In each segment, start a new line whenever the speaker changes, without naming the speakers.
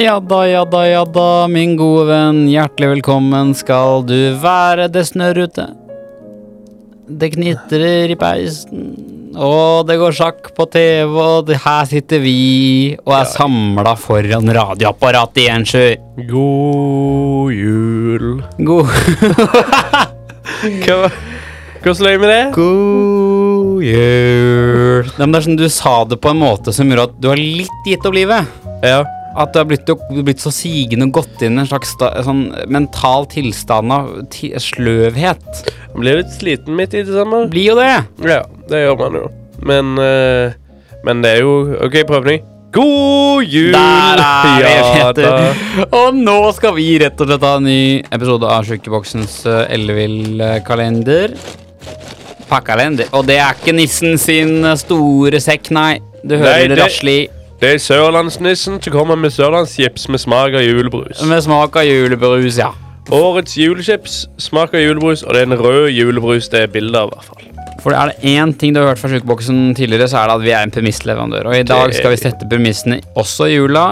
Ja da, ja da, ja da, min gode venn. Hjertelig velkommen skal du være. Det snør ute. Det knitrer i peisen. Og det går sjakk på TV, og det her sitter vi og er samla foran radioapparatet i Ensjø.
God jul.
God,
Hva- Hvordan løy med det?
God jul. Nei, men det er sånn, du sa det på en måte som gjorde at du har litt gitt opp livet.
Ja.
At du har blitt, du har blitt så sigende og gått inn i en slags sta, sånn mental tilstand av ti, sløvhet.
Man blir litt sliten midt i desember.
Blir jo det.
Ja, det gjør man jo. Men eh, Men det er jo OK prøvning. God jul!
Der er vi,
Uh, Ja,
Peter. Og nå skal vi rett og slett ha en ny episode av Sjukeboksens eh, ellevill-kalender. Pakkalender. Og det er ikke nissen sin eh, store sekk, nei. Du hører
Nei,
det
det-
rasle i.
da. Det er sørlandsnissen som kommer med sørlandschips med smak av julebrus.
Med smak av julebrus, ja.
Årets julechips smaker julebrus, og det er en rød julebrus det er bilde av, i hvert fall.
For er det én ting du har hørt fra Sjukeboksen tidligere, så er det at vi er en premissleverandør. Og i dag skal vi sette premissene også i jula,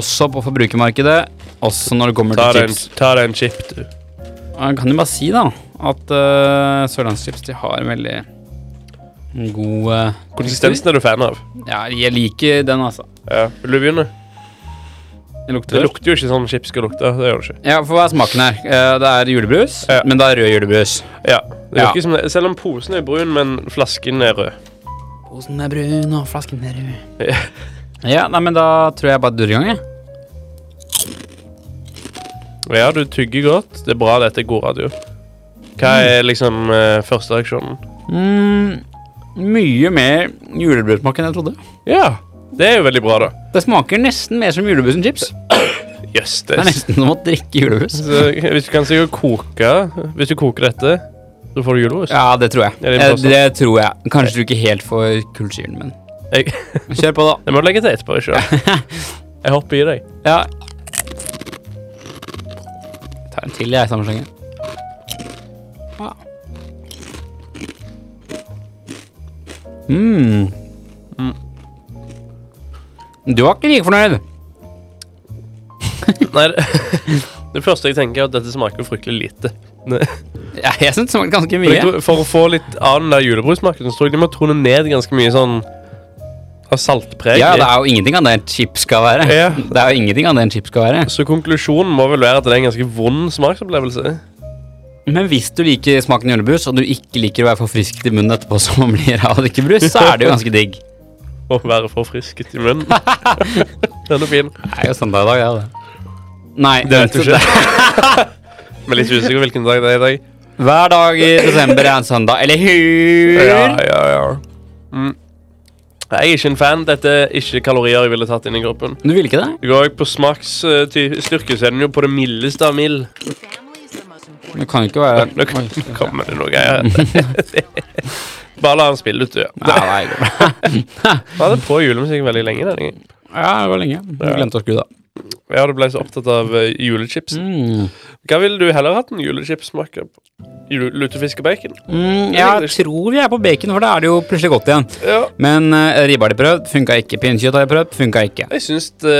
også på forbrukermarkedet, også når det kommer
Ta
til
deg en,
chips.
ta deg en chip, du.
Jeg kan jo bare si da at uh, Sørlandschips de har en veldig god eh,
Konsistensen er du fan av.
Ja, jeg liker den, altså.
Ja. Vil du begynne?
Det lukter godt.
Det lukter jo ikke sånn chips skal lukte. Det gjør det ikke.
Ja, for hva er smaken her? Eh, det er julebrus,
Ja.
men det er rød julebrus.
Ja, det
Ja.
lukter som det. Selv om posen er brun, men flasken er rød.
Posen er brun, og flasken er rød.
Ja.
ja, nei, men da tror jeg bare durrer i gang, jeg.
Ja, du tygger godt. Det er bra dette er god radio. Hva er liksom eh, første reaksjonen?
Mm, mye mer julebrussmak enn jeg trodde.
Ja, det er jo veldig bra, da.
Det smaker nesten mer som julebrus enn chips.
Jøss,
Det
det
er nesten som å drikke julebrus.
Så Hvis du kan sikkert koke Hvis du koker dette, så får du julebrus.
Ja, det tror jeg.
Ja, det er
Eh,
påstått.
det tror jeg. Kanskje du ikke helt får kullsyren, men
Jeg,
kjør på, da.
jeg må legge til etterpå. Ikke? sant? Jeg hopper i deg.
Ja. Jeg tar en til, jeg, i samme slengen. Ah. Ja. Mm. Du var ikke like fornøyd.
Nei, det, det første jeg tenker, er at dette smaker fryktelig lite. Ne-
Ja, jeg syns det smakte ganske
For, jeg
mye.
tror, for å få litt av den der julebrussmaken, så tror jeg de må tone ned ganske mye sånn av saltpreg.
Ja,
i.
det er jo ingenting av det en chips skal være.
Ja.
Det er jo ingenting av det en chips skal være.
Så konklusjonen må vel være at det er en ganske vond smaksopplevelse.
Men hvis du liker smaken julebrus, og du ikke liker å være forfrisket i munnen etterpå som man blir av å drikke brus, så er det jo ganske digg.
Å være forfrisket i munnen. Den er fin.
Det er jo søndag i dag, det. er det. Nei,
Det vet du
så-
ikke. Men litt usikker hvilken dag det er i dag.
Hver dag i desember er en søndag, eller hur?
Ja, ja, ja. Mm. Jeg er ikke en fan. Dette er ikke kalorier jeg ville tatt inn i kroppen.
Du vil ikke det?
Går jeg på smaksstyrke, så er den jo på det mildeste av mild.
Det kan jo ikke være
Nå kan- kommer det noe greier. Bare la han spille ut, du. Ja.
Nei, nei, det går bra.
Han hadde på julemusikk veldig lenge. denne gangen.
Ja, det var lenge. Du glemte å skru, da.
Ja, du ble så opptatt av eh, julechips.
Mm.
Hva ville du heller hatt en julechipssmak av? Jule- Lutefisk og bacon?
Mm, jeg tror vi er på bacon, for da er det jo plutselig godt igjen.
Ja.
Men uh, ribbe har de prøvd, funka ikke. Pinnekjøtt har de prøvd, funka ikke.
Jeg syns de,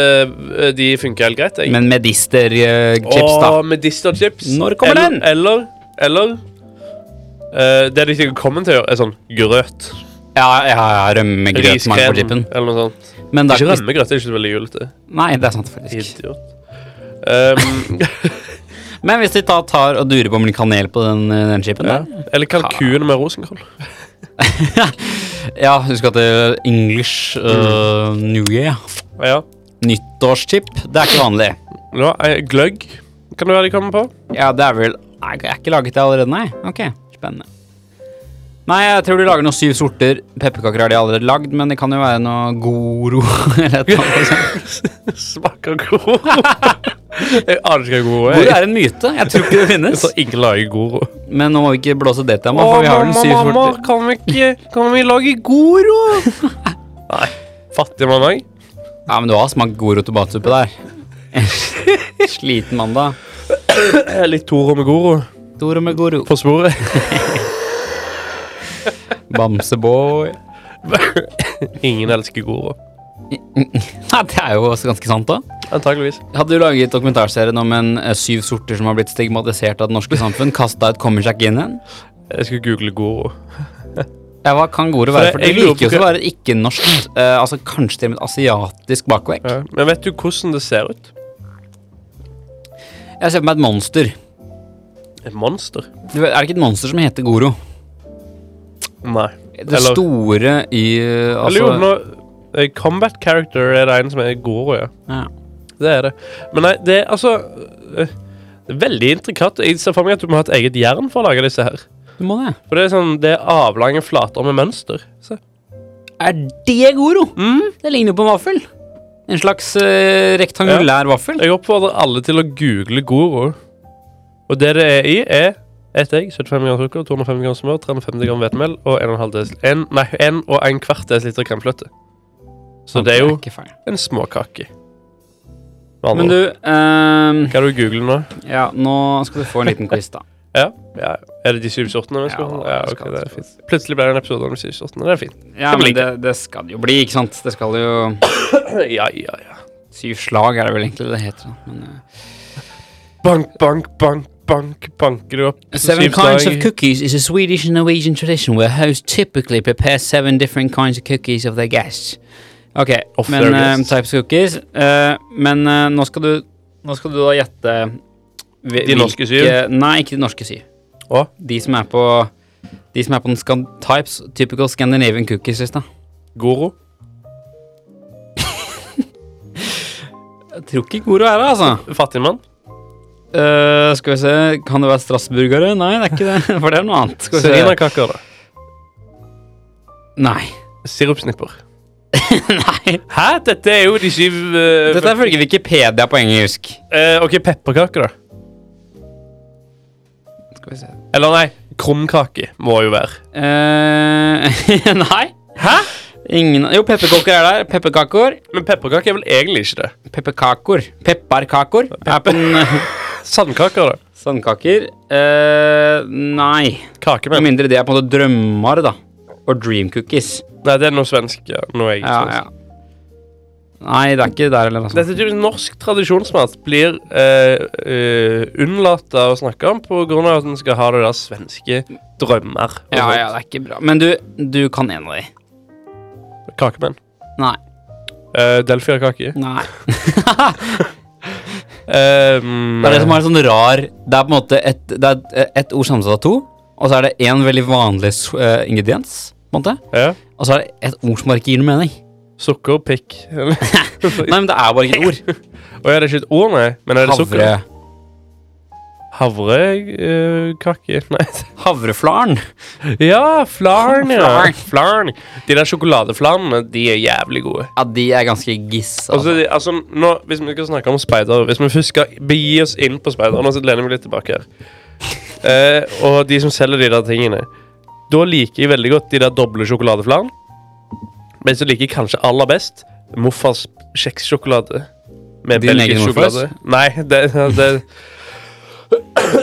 de funker helt greit. Jeg.
Men medisterchips, da.
Og medisterchips.
Når kommer
eller,
den?
Eller, eller eh, Det de sikkert kommer til å gjøre, er sånn grøt.
Ja, ja, ja rømmegrøt smaker på chipen.
eller noe sånt.
Men det er
Ikke
ikke
rømmegrøt er ikke så veldig julete.
Nei, det er sant, faktisk.
Idiot. Um,
Men hvis de da tar og durer på med litt kanel på den, eh, den chipen
ja.
der
Eller kalkun med rosenkål.
Ja, husk at det er English uh, New Year.
Ja.
Nyttårschip, det er ikke vanlig.
Nå, eh, gløgg kan det være de kommer på.
Ja, det er vel Nei, jeg er ikke laget det allerede, nei. Ok, spennende. Nei, jeg tror de lager noen syv sorter. Pepperkaker har de allerede lagd, men det kan jo være noe Goro eller et eller annet. sånt.
Smaker goro. jeg aner ikke hva goro
Goro
er.
er en myte. Jeg tror ikke det
Jeg
finnes.
tror ingen lager goro.
Men nå må vi ikke blåse det temaet, for vi har vel syv sorter.
kan vi ikke Kan vi lage goro? Nei. Fattig mamma. jeg.
Ja, men du har smakt Goro tomatsuppe der. Sliten mandag.
Jeg er litt Toro med goro
Goro med Goro.
på sporet.
Bamseboy.
Ingen elsker Goro.
Nei, det er jo også ganske sant, da.
Antakeligvis.
Hadde du laget dokumentarserien om en eh, syv sorter som har blitt stigmatisert av det norske samfunn, kasta et kommersjakk inn en?
Jeg skulle google Goro.
Ja, hva kan ordet
For
være?
jeg-
For det
jeg lurer
virker jo
på
som å være ikke-norsk. eh, altså kanskje til og med et asiatisk bakvekt.
Ja. Men vet du hvordan det ser ut?
Jeg ser på meg et monster.
Et monster?
Du vet, Er det ikke et monster som heter Goro?
Nei.
Det
Eller-
store i eh,
Eller
altså,
jo, nå eh, Combat character er det en som er Goro, ja.
ja.
Det er det. Men nei, det er altså eh, det er Veldig intrikat. Jeg ser for meg at du må ha et eget jern for å lage disse her.
Du må det.
For det er sånn, det er avlange flater med mønster. Se.
Er det Goro?
Mm.
Det ligner jo på en vaffel. En slags eh, rektangulær vaffel.
Jeg oppfordrer alle til å google Goro. Og det det er i, er ett egg, 75 gram sukker, 250 gram smør, 350 gram hvetemel og 1,5 dl en, Nei, 1 og en kvart dl kremfløte. Så det er jo
ikke feil.
en småkake. Med andre
Men du,
ord.
ehm,
Hva er det du googler nå?
ja, nå skal du få en liten quiz, da.
Ja, ja. Er det de syv sortene? vi
Ja,
skal ha?
da,
ja,
vi
ok,
skal-
det er fint. Plutselig ble det en episode om de syv sortene. Det er fint.
Ja,
Det
men
blir
det, det skal det jo bli, ikke sant? Det skal jo
Ja, ja, ja.
Syv slag er det vel egentlig det heter. da. Men, eh,
Bank, bank, bank, bank. Banker du opp
Seven
syv
kinds
slag?
of cookies is a Swedish and Norwegian tradition where hosts typically prepare seven different kinds of cookies of their guests. Ok,
Of
men
their
eh,
guests.
types cookies. eh, men eh, nå, skal du, nå skal du da gjette hvi-
De norske syv?
hvilke- Nei, ikke de norske syv.
Å?
De som er på de som er på den skan types, typical Scandinavian cookies-lista.
Goro?
Jeg tror ikke Goro er det, altså.
Fattigmann?
Eh, skal vi se, kan det være strasburgere? Nei, det er ikke det, for det er noe annet. Skal vi se.
Serinakaker, da.
Nei.
Sirupsnipper.
Nei.
Hæ? Dette er jo de syv eh,
Dette er følge Wikipedia på engelsk.
eh, OK, pepperkaker, da.
Skal vi se.
Eller nei, krumkake må jo være.
Eh, nei.
Hæ?
Ingen, jo, pepperkaker er der. Pepperkaker.
Men pepperkake er vel egentlig ikke det.
Pepperkaker. Pepperkaker. Er på den
Sandkaker, da.
Sandkaker. Eh, nei. Med
Kakemenn.
mindre det er på en måte drømmer, da. Og dream cookies.
Nei, det er noe svensk. Ja. Noe jeg ikke
Ja, ja. Nei, det er ikke der heller, altså.
Dette er typisk norsk tradisjonsmat blir eh, eh, unnlatt av å snakke om på grunn av at en skal ha det der svenske drømmer. og
Ja,
sånt.
ja, det er ikke bra. Men du, du kan en av de.
Kakemenn.
Nei.
Uh, Delfiakake.
Nei.
Um, Ehm,
Det er det som har en sånn rar Det er på en måte et, det er et- et ord sammensatt av to, og så er det én veldig vanlig s- eh, ingrediens, på en måte.
ja.
Og så er det et ord som bare ikke gir noe mening.
Sukkerpikk. Eller-
Nei, men det er bare ikke et ord.
Å, ja, det er ikke et ord, nei. Men er det sukker?
Havre,
Havrekake? Nei.
havreflaren.
Ja, flarn, ja.
Flarn.
Flarn. De der sjokoladeflarnene, de er jævlig gode.
Ja, de er ganske giss. Altså.
Altså, de- altså nå, Hvis vi skal snakke om speidere Hvis vi først skal begi oss inn på speidere Nå så lener jeg meg litt tilbake her. Eh, og de som selger de der tingene. Da liker jeg veldig godt de der doble sjokoladeflarene. Men så liker jeg kanskje aller best morfars kjekssjokolade. Med
Din
belgisk
egen
sjokolade.
morfars?
Nei, det, det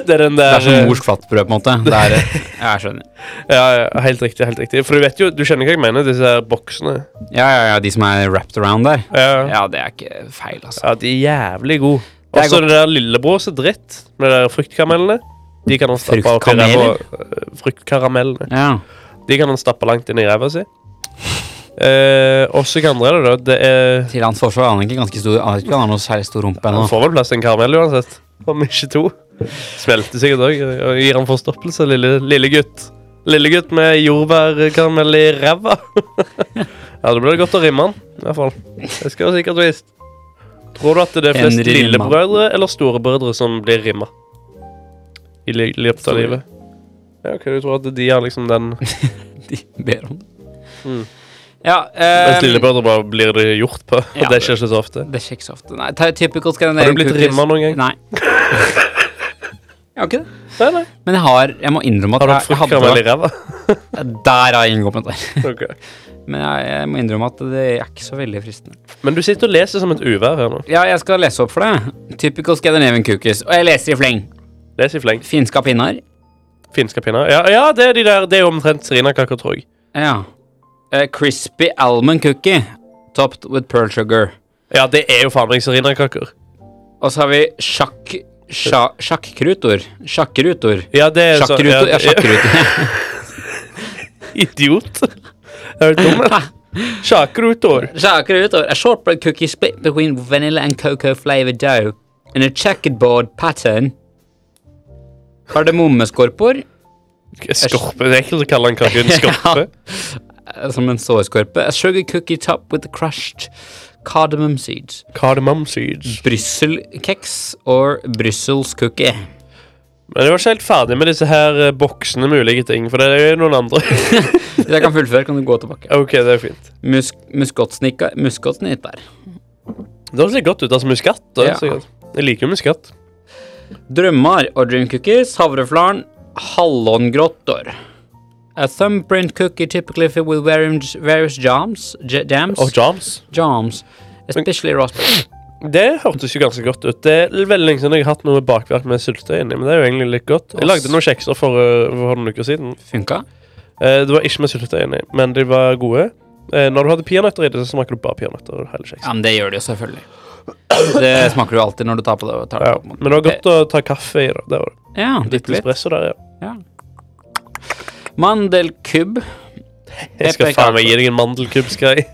Det er den
Det
der
er som
eh,
mors flatbrød, på en måte. Det er, jeg skjønner.
Ja, ja, helt riktig. helt riktig For du vet jo, du kjenner hva jeg mener, disse her boksene.
Ja, ja, ja, de som er wrapped around der.
Ja,
Ja, det er ikke feil, altså.
ja de er jævlig gode.
Det er
Og så det der lillebror som dritt, med de der fruktkaramellene. De kan han stappe oppi ræva.
Fruktkarameller?
øh, Fruktkaramellene.
Ja.
De kan han stappe langt inn i ræva si. Eh, også hva andre er det, da? Det er
Til hans forsvar er han egentlig ganske stor. Han vet ikke om han har noe særlig stor rumpe ennå.
Han får vel plass til en karamell uansett. Om ikke to. Smelter sikkert òg. Og gir han forstoppelse, lille, lille gutt. Lille gutt med jordbærkaramell i ræva. ja, da blir det godt å rimme han, i hvert fall. Det skal være sikkert og visst. Tror du at det er flest
Henry Rimman.
lillebrødre eller storebrødre som blir rimma? I li- løpet av
Store.
livet? Ja, ok, Du tror at de er liksom den
De ber om det.
Mm.
Ja,
Mens
eh,
lillebrødre bare blir det gjort på. Og
Ja,
det skjer ikke så ofte.
det er ikke så ofte. Nei, ty- typical
Har
Scandinavian
du blitt
cookies.
rimma noen gang?
Nei. Jeg har ikke det.
Nei, nei.
Men jeg har Jeg må innrømme at
Har du
jeg-
hatt
jeg hadde
fruktkaramell i ræva?
vært- Der har jeg inngått.
Ok.
Men jeg, jeg må innrømme at det er ikke så veldig fristende.
Men du sitter og leser som et uvær her nå.
Ja, jeg skal lese opp for deg. Typical Scandinavian cookies. Og jeg leser i fleng.
Les i fleng.
Finska pinner.
Finske pinner. Ja, ja det er de der. Det er jo omtrent serinakaker, tror jeg.
Ja. Eh, crispy almond cookie topped with pearl sugar.
Ja, det er jo faen meg serinakaker.
Og så har vi sjakk... sja- Sjakkkrutor. Sjakkrutor.
Ja, det er så-
Sjakkrutor. Ja,
ja,
sjakkrutor.
Idiot. Er du dum? eller? Sjakrutor.
Sjakkrutor. A shortbread cookie split between vanilla and cocoa flavored dough in a checkerboard pattern. Kardemommeskorper,
Skorpe. Det er ekkelt å kalle en kake en skorpe.
eh, som en sårskorpe. A sugar cookie topped with crushed cardamom seeds.
Cardamom seeds.
Brysselkeks or Brussels cookie.
Men jeg var ikke helt ferdig med disse her eh, boksene med ulike ting, for det er jo noen andre.
Hvis jeg kan fullføre, kan du gå tilbake.
ok, det er fint.
Musk, muskottsnikka- Muskottsnitter.
Det høres litt godt ut. Altså muskatt. da,
Ja.
så godt. Jeg liker jo muskatt.
Drømmer og dream cookies, havreflaren, hallongrotter. A thumbprint cookie typically filled with various, various jams, j jams,
Og jams.
jams, especially raspberry.
Det hørtes jo ganske godt ut. Det er veldig lenge siden jeg har hatt noe bakverk med syltetøy inni. Men det er jo egentlig litt godt. Jeg lagde noen kjekser for, eh, for noen uker siden.
Funka?
Eh, Det var ikke med syltetøy inni, men de var gode. Eh, Når du hadde peanøtter i det, så smaker du bare peanøtter. og hele kjeksen.
Ja, men det gjør det jo selvfølgelig. Det smaker jo alltid når du tar på det. Og tar det
Ja,
opp mot-
men det var godt å ta kaffe i det. Det var det.
Ja,
Litt
dyppe litt.
espresso der, ja.
Ja. Mandelkubb.
Jeg skal faen meg gi deg en mandelkubb, skal jeg.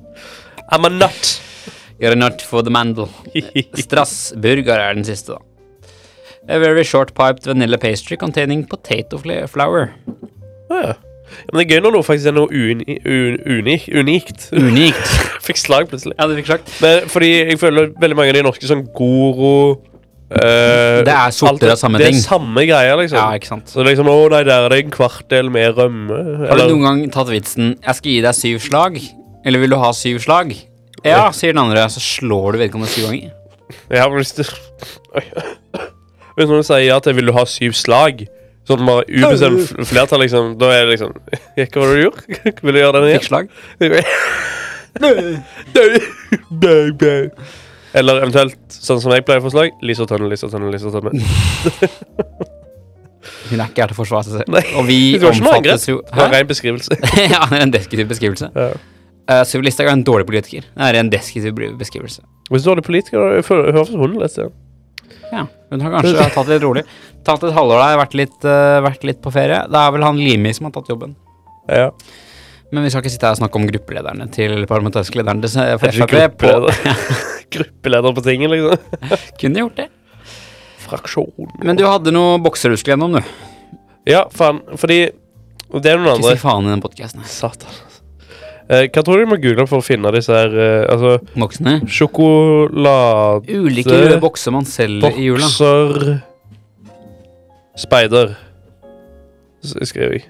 I'm a nut.
You're not for the mandel. Strassburger er den siste, da. A very short piped vanilla pastry containing potato fla- flour.
Ja. Ja, Men det er gøy når noe faktisk er noe uni, un, unik, unikt.
Unikt.
Fikk slag plutselig.
ja, du fikk sagt.
Men fordi jeg føler veldig mange av de norske sånn Goro eh,
Det er sorter
alt det-
av samme
Det
ting.
er samme greia, liksom.
Ja, ikke sant.
så liksom, å nei, der er det en kvartdel med rømme.
Har du
Eller,
noen gang tatt vitsen 'jeg skal gi deg syv slag', eller 'vil du ha syv slag'? Ja, sier den andre, så slår du vedkommende syv ganger.
jeg har lyst til Oi. Hvis noen sier ja til 'vil du ha syv slag', sånn bare ubestemt fl- flertall, liksom, da er det liksom Hva var det du gjorde? Vil du gjøre den
Fikk
igjen?
slag.
Bau, bau. Eller eventuelt, sånn som jeg pleier å få slag, Lise og Tønne, Lise og Tønne, Lise og Tønne.
Hun er ikke her til å forsvare seg selv.
Nei,
Og vi
det var ikke noe
omfattes jo
Det var
Hæ?
ren beskrivelse.
ja, det er en deskriptiv beskrivelse.
Ja.
Uh, Sylvi Listhaug er en dårlig politiker. Det er en deskriptiv beskrivelse.
Hvis du er politiker, høres hun litt igjen.
Ja, hun har kanskje tatt det litt rolig. Tatt et halvår der, vært litt, eh, vært litt på ferie. Det er vel han Limi som har tatt jobben.
Ja.
Men vi skal ikke sitte her og snakke om gruppelederne til parlamentariske lederen til
Er
for
ikke
Frp. På,
Gruppeleder på tinget, liksom.
kunne gjort det.
Fraksjon.
Men du hadde noe bokserusker gjennom, du.
Ja, faen. Fordi og Det er noen
Ikke si
andre.
faen i den podkasten.
Satan. Eh, hva tror du de må google for å finne disse her eh, Altså,
Boksene.
sjokolade
Ulike
Det-
røde bokser man selger i jula.
Bokser Speider. S- Skriver jeg.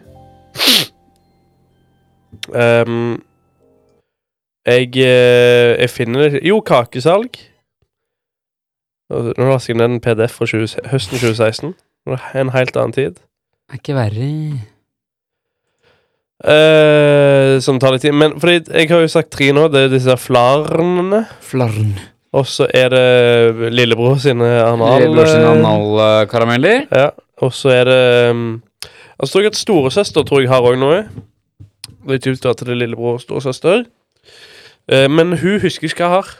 Ehm, jeg eh, Jeg finner det ikke. Jo, kakesalg. Og Nå laster jeg ned en PDF fra 20, høsten 2016. Det var En helt annen tid.
Er ikke verre.
Eh, som tar litt tid. Men fordi jeg har jo sagt tre nå. Det er disse her flarnene.
Flarn.
Og så er det lillebror sine anal...
Lillebror sine analkarameller.
Ja, og så er det um, Altså tror jeg at storesøster tror jeg har òg noe. Det er typisk da til det lillebror og storesøster. Eh, men hun husker ikke hva jeg har.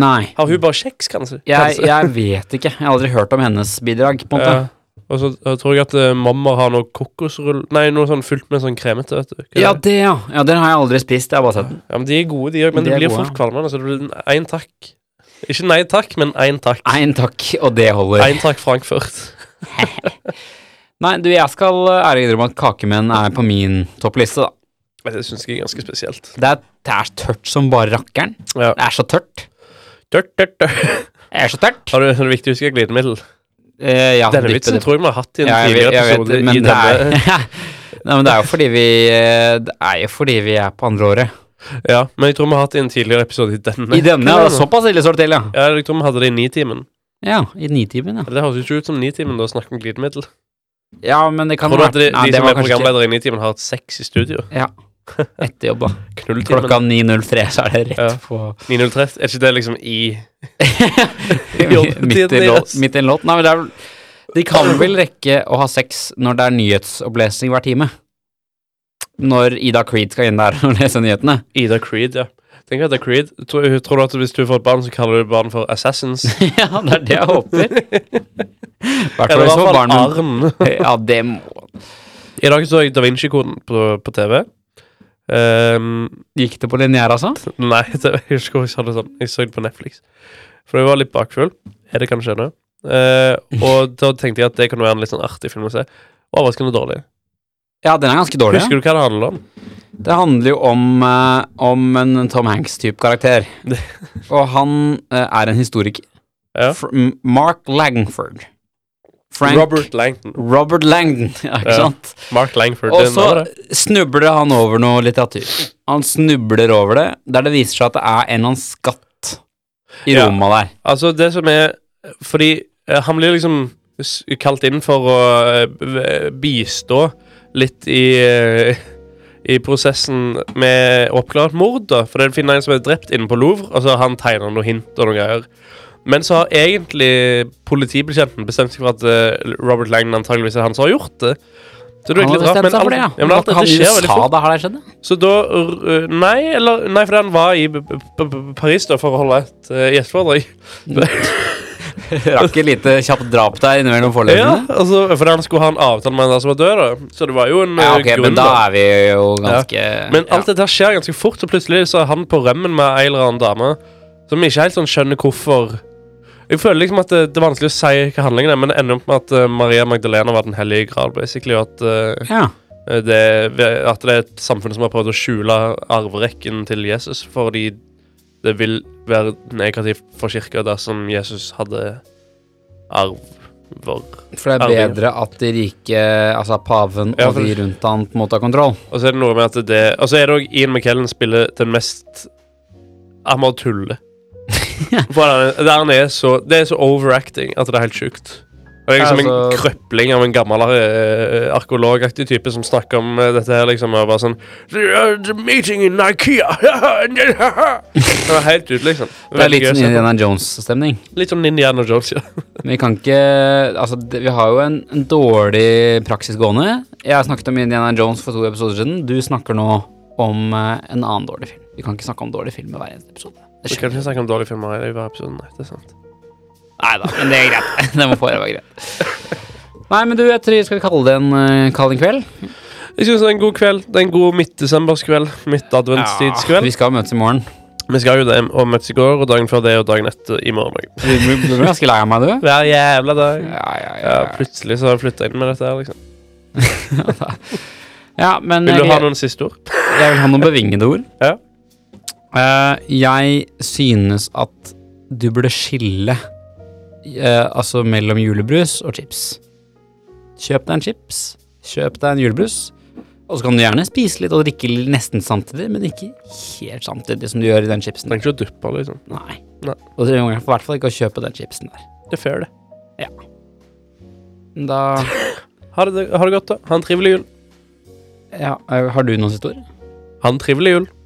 Nei.
Har hun bare kjeks, kanskje?
Jeg,
Kanskje.
jeg vet ikke. Jeg har aldri hørt om hennes bidrag. på en måte.
Ja. Og så eh, tror jeg at eh, mamma har noe kokosrull... Nei, noe sånn fylt med sånn kremete, vet du. Hva er
Ja,
det?
det, ja. ja. Den har jeg aldri spist. Jeg har bare sett den.
ja, men De er gode, de òg.
De
Men det
er
blir
gode,
fort kvalmende, så det blir én takk. Ikke nei takk, men én takk.
Én takk, og det holder.
Én takk Frankfurt.
Nei, du, jeg skal eh, ærlig innrømme at kakemenn er på min toppliste, da.
Det syns jeg er ganske spesielt.
Det er, det er tørt som bare rakkeren.
Ja.
Det er så tørt.
Dørt, dørt, dørt.
Det er så tørt.
Har du, er det viktig å huske glidemiddel?
Eh, ja,
Denne
dyppe
vitsen
det.
tror jeg vi har hatt i en
ja, jeg, vet-
tidligere
jeg vet
episode.
det, men
i
det er,
denne.
Nei, men det er jo fordi vi eh, Det er jo fordi vi er på andre året.
Ja, men jeg tror vi har hatt det i en tidligere episode i denne.
I denne, altså? ja, det er såpass ille står det til, ja.
Ja, jeg tror vi hadde det i Nitimen.
Ja, i nitimen, ja.
Det høres jo ikke ut som Nitimen da snakker om glidemiddel.
Ja, men det kan
Tror du
ha
at de,
vært Nei,
de
det
som
var
er
kanskje
programledere i Nitimen, har hatt sex i studio?
Ja. etter jobb, da. Klokka
Knulltimen.
9.03 så er det rett
Ja.
på
9.03. Er ikke det liksom i Jobbetiden
midt, i låt,
deres.
midt i en låt. Nei, men det er vel De kan vel rekke å ha sex når det er nyhetsopplesning hver time. når Ida Creed skal inn der og lese nyhetene.
Ida Creed, ja. Tenk at det er Creed. Tror, tror du at hvis du får et barn, så kaller du barn for Assassins?
ja, det er det jeg håper. Hvert fall
Eller i
hvis
hvert
får
fall
barn
Arn.
Ja, det må
I dag så jeg Da Vinci-koden på, på TV. Ehm,
Gikk det på linjær, altså?
nei, det, jeg husker ikke jeg sa det sånn. Jeg så det på Netflix. For jeg var litt bakfull. Er det kanskje nå? Eh, og da tenkte jeg at det kunne være en litt sånn artig film å se. Overraskende dårlig.
Ja, den er ganske dårlig.
Husker du hva det handler om?
Det handler jo om, eh, om en Tom Hanks-type karakter. Og han eh, er en historiker.
Ja.
Fr M- Mark Langford. Frank
Robert Langton.
Robert Langdon, ja, ikke
Ja.
sant?
Mark Langford.
Og
det er
så
navnet.
snubler han over noe litteratur. Han snubler over det, der det viser seg at det er en eller annen skatt i
Ja.
Roma der.
Altså, det som er Fordi eh, han blir liksom s- kalt inn for å eh, b- bistå litt i eh, i prosessen med å oppklare et mord, da. For det finner en som er drept inne på Louvre, og så har han tegner noe hint og noen greier. Men så har egentlig politibetjenten bestemt seg for at eh, Robert Langdon antageligvis er han som har gjort det. Så
Han
det er egentlig
hadde
rart,
bestemt
men
seg for
alt-
det, ja.
ja, men alt
At han
dette skjer veldig
USA
fort.
da har det skjedd, det.
Så da r- eh, Nei, eller Nei, fordi han var i B- B- B- Paris da for å holde et uh, gjesteforedrag.
Rakk et lite kjapt drap der innimellom
Ja,
forløpene.
altså, fordi han skulle ha en avtale med en der som var død, da. Så det var jo en
Ja,
eh,
ok,
grunn,
men da er vi jo
Ja.
ganske
Men alt dette her skjer ganske fort, og plutselig så er han på rømmen med ei eller annen dame som ikke helt sånn skjønner hvorfor. Jeg føler liksom at det, det er vanskelig å si hva handlingen er, men det ender opp med at eh, Maria Magdalena var den hellige gral, basically, og at, eh,
ja.
det, at det er et samfunn som har prøvd å skjule arverekken til Jesus, fordi det vil være negativt for kirka dersom Jesus hadde arver.
For det er
Arvinger.
bedre at de rike, altså paven
Ja,
og
for-
de rundt han, på en måte har kontroll.
Og så er det noe med at det Og så er det òg Ian McKellen spiller den mest Han bare tuller. For han, er- der han er så, det er så overacting at det er helt sjukt. Og Det er
Ja,
liksom en
altså-
krøpling av en gammel eh, arkeologaktig type som snakker om eh, dette her, liksom. Og bare sånn "The- uh, The meeting in Ikea Det er helt ut, liksom.
Det er litt
Veldig gøy å
sånn
se på.
Indiana Jones-stemning.
litt sånn Indiana Jones, ja.
Men Vi kan ikke Altså, det, vi har jo en, en dårlig praksis gående. Jeg har snakket om Indiana Jones for to episoder siden. Du snakker nå om eh, en annen dårlig film. Vi kan ikke snakke om dårlig film i hver eneste episode. Det
Vi kan
skjer.
ikke snakke om dårlige filmer i hver episode, nei. Det er sant.
Nei da, men det er greit. det må få være greit. Nei, men du, jeg tror skal vi kalle det en, eh, kalle det en kveld?
Jeg syns det er en god kveld. Det er en god midtdesemberskveld. Midt-adventstidskveld.
vi skal møtes i morgen.
Vi skal jo det og møtes i går, og dagen før det og dagen etter i morgen. også.
Du blir ganske lei av meg, du.
Hver jævla dag.
Ja, ja, ja.
Ja, plutselig så har jeg flytta inn med dette her, liksom.
ja men eh,
Vil du
jeg-
ha noen siste ord?
Jeg vil ha noen bevingede ord.
Ja.
Eh, jeg synes at du burde skille eh, altså mellom julebrus og chips. Kjøp deg en chips, kjøp deg en julebrus, og så kan du gjerne spise litt og drikke litt nesten samtidig, men ikke helt samtidig som du gjør i den chipsen.
Trenger ikke å duppe, liksom.
Nei.
Nei.
Og du trenger i hvert fall ikke å kjøpe den chipsen der.
Det er fair, det.
Da
Ha det, ha det godt, da. Ha en trivelig jul.
ja, eh, Har du noen siste ord?
Ha en trivelig jul.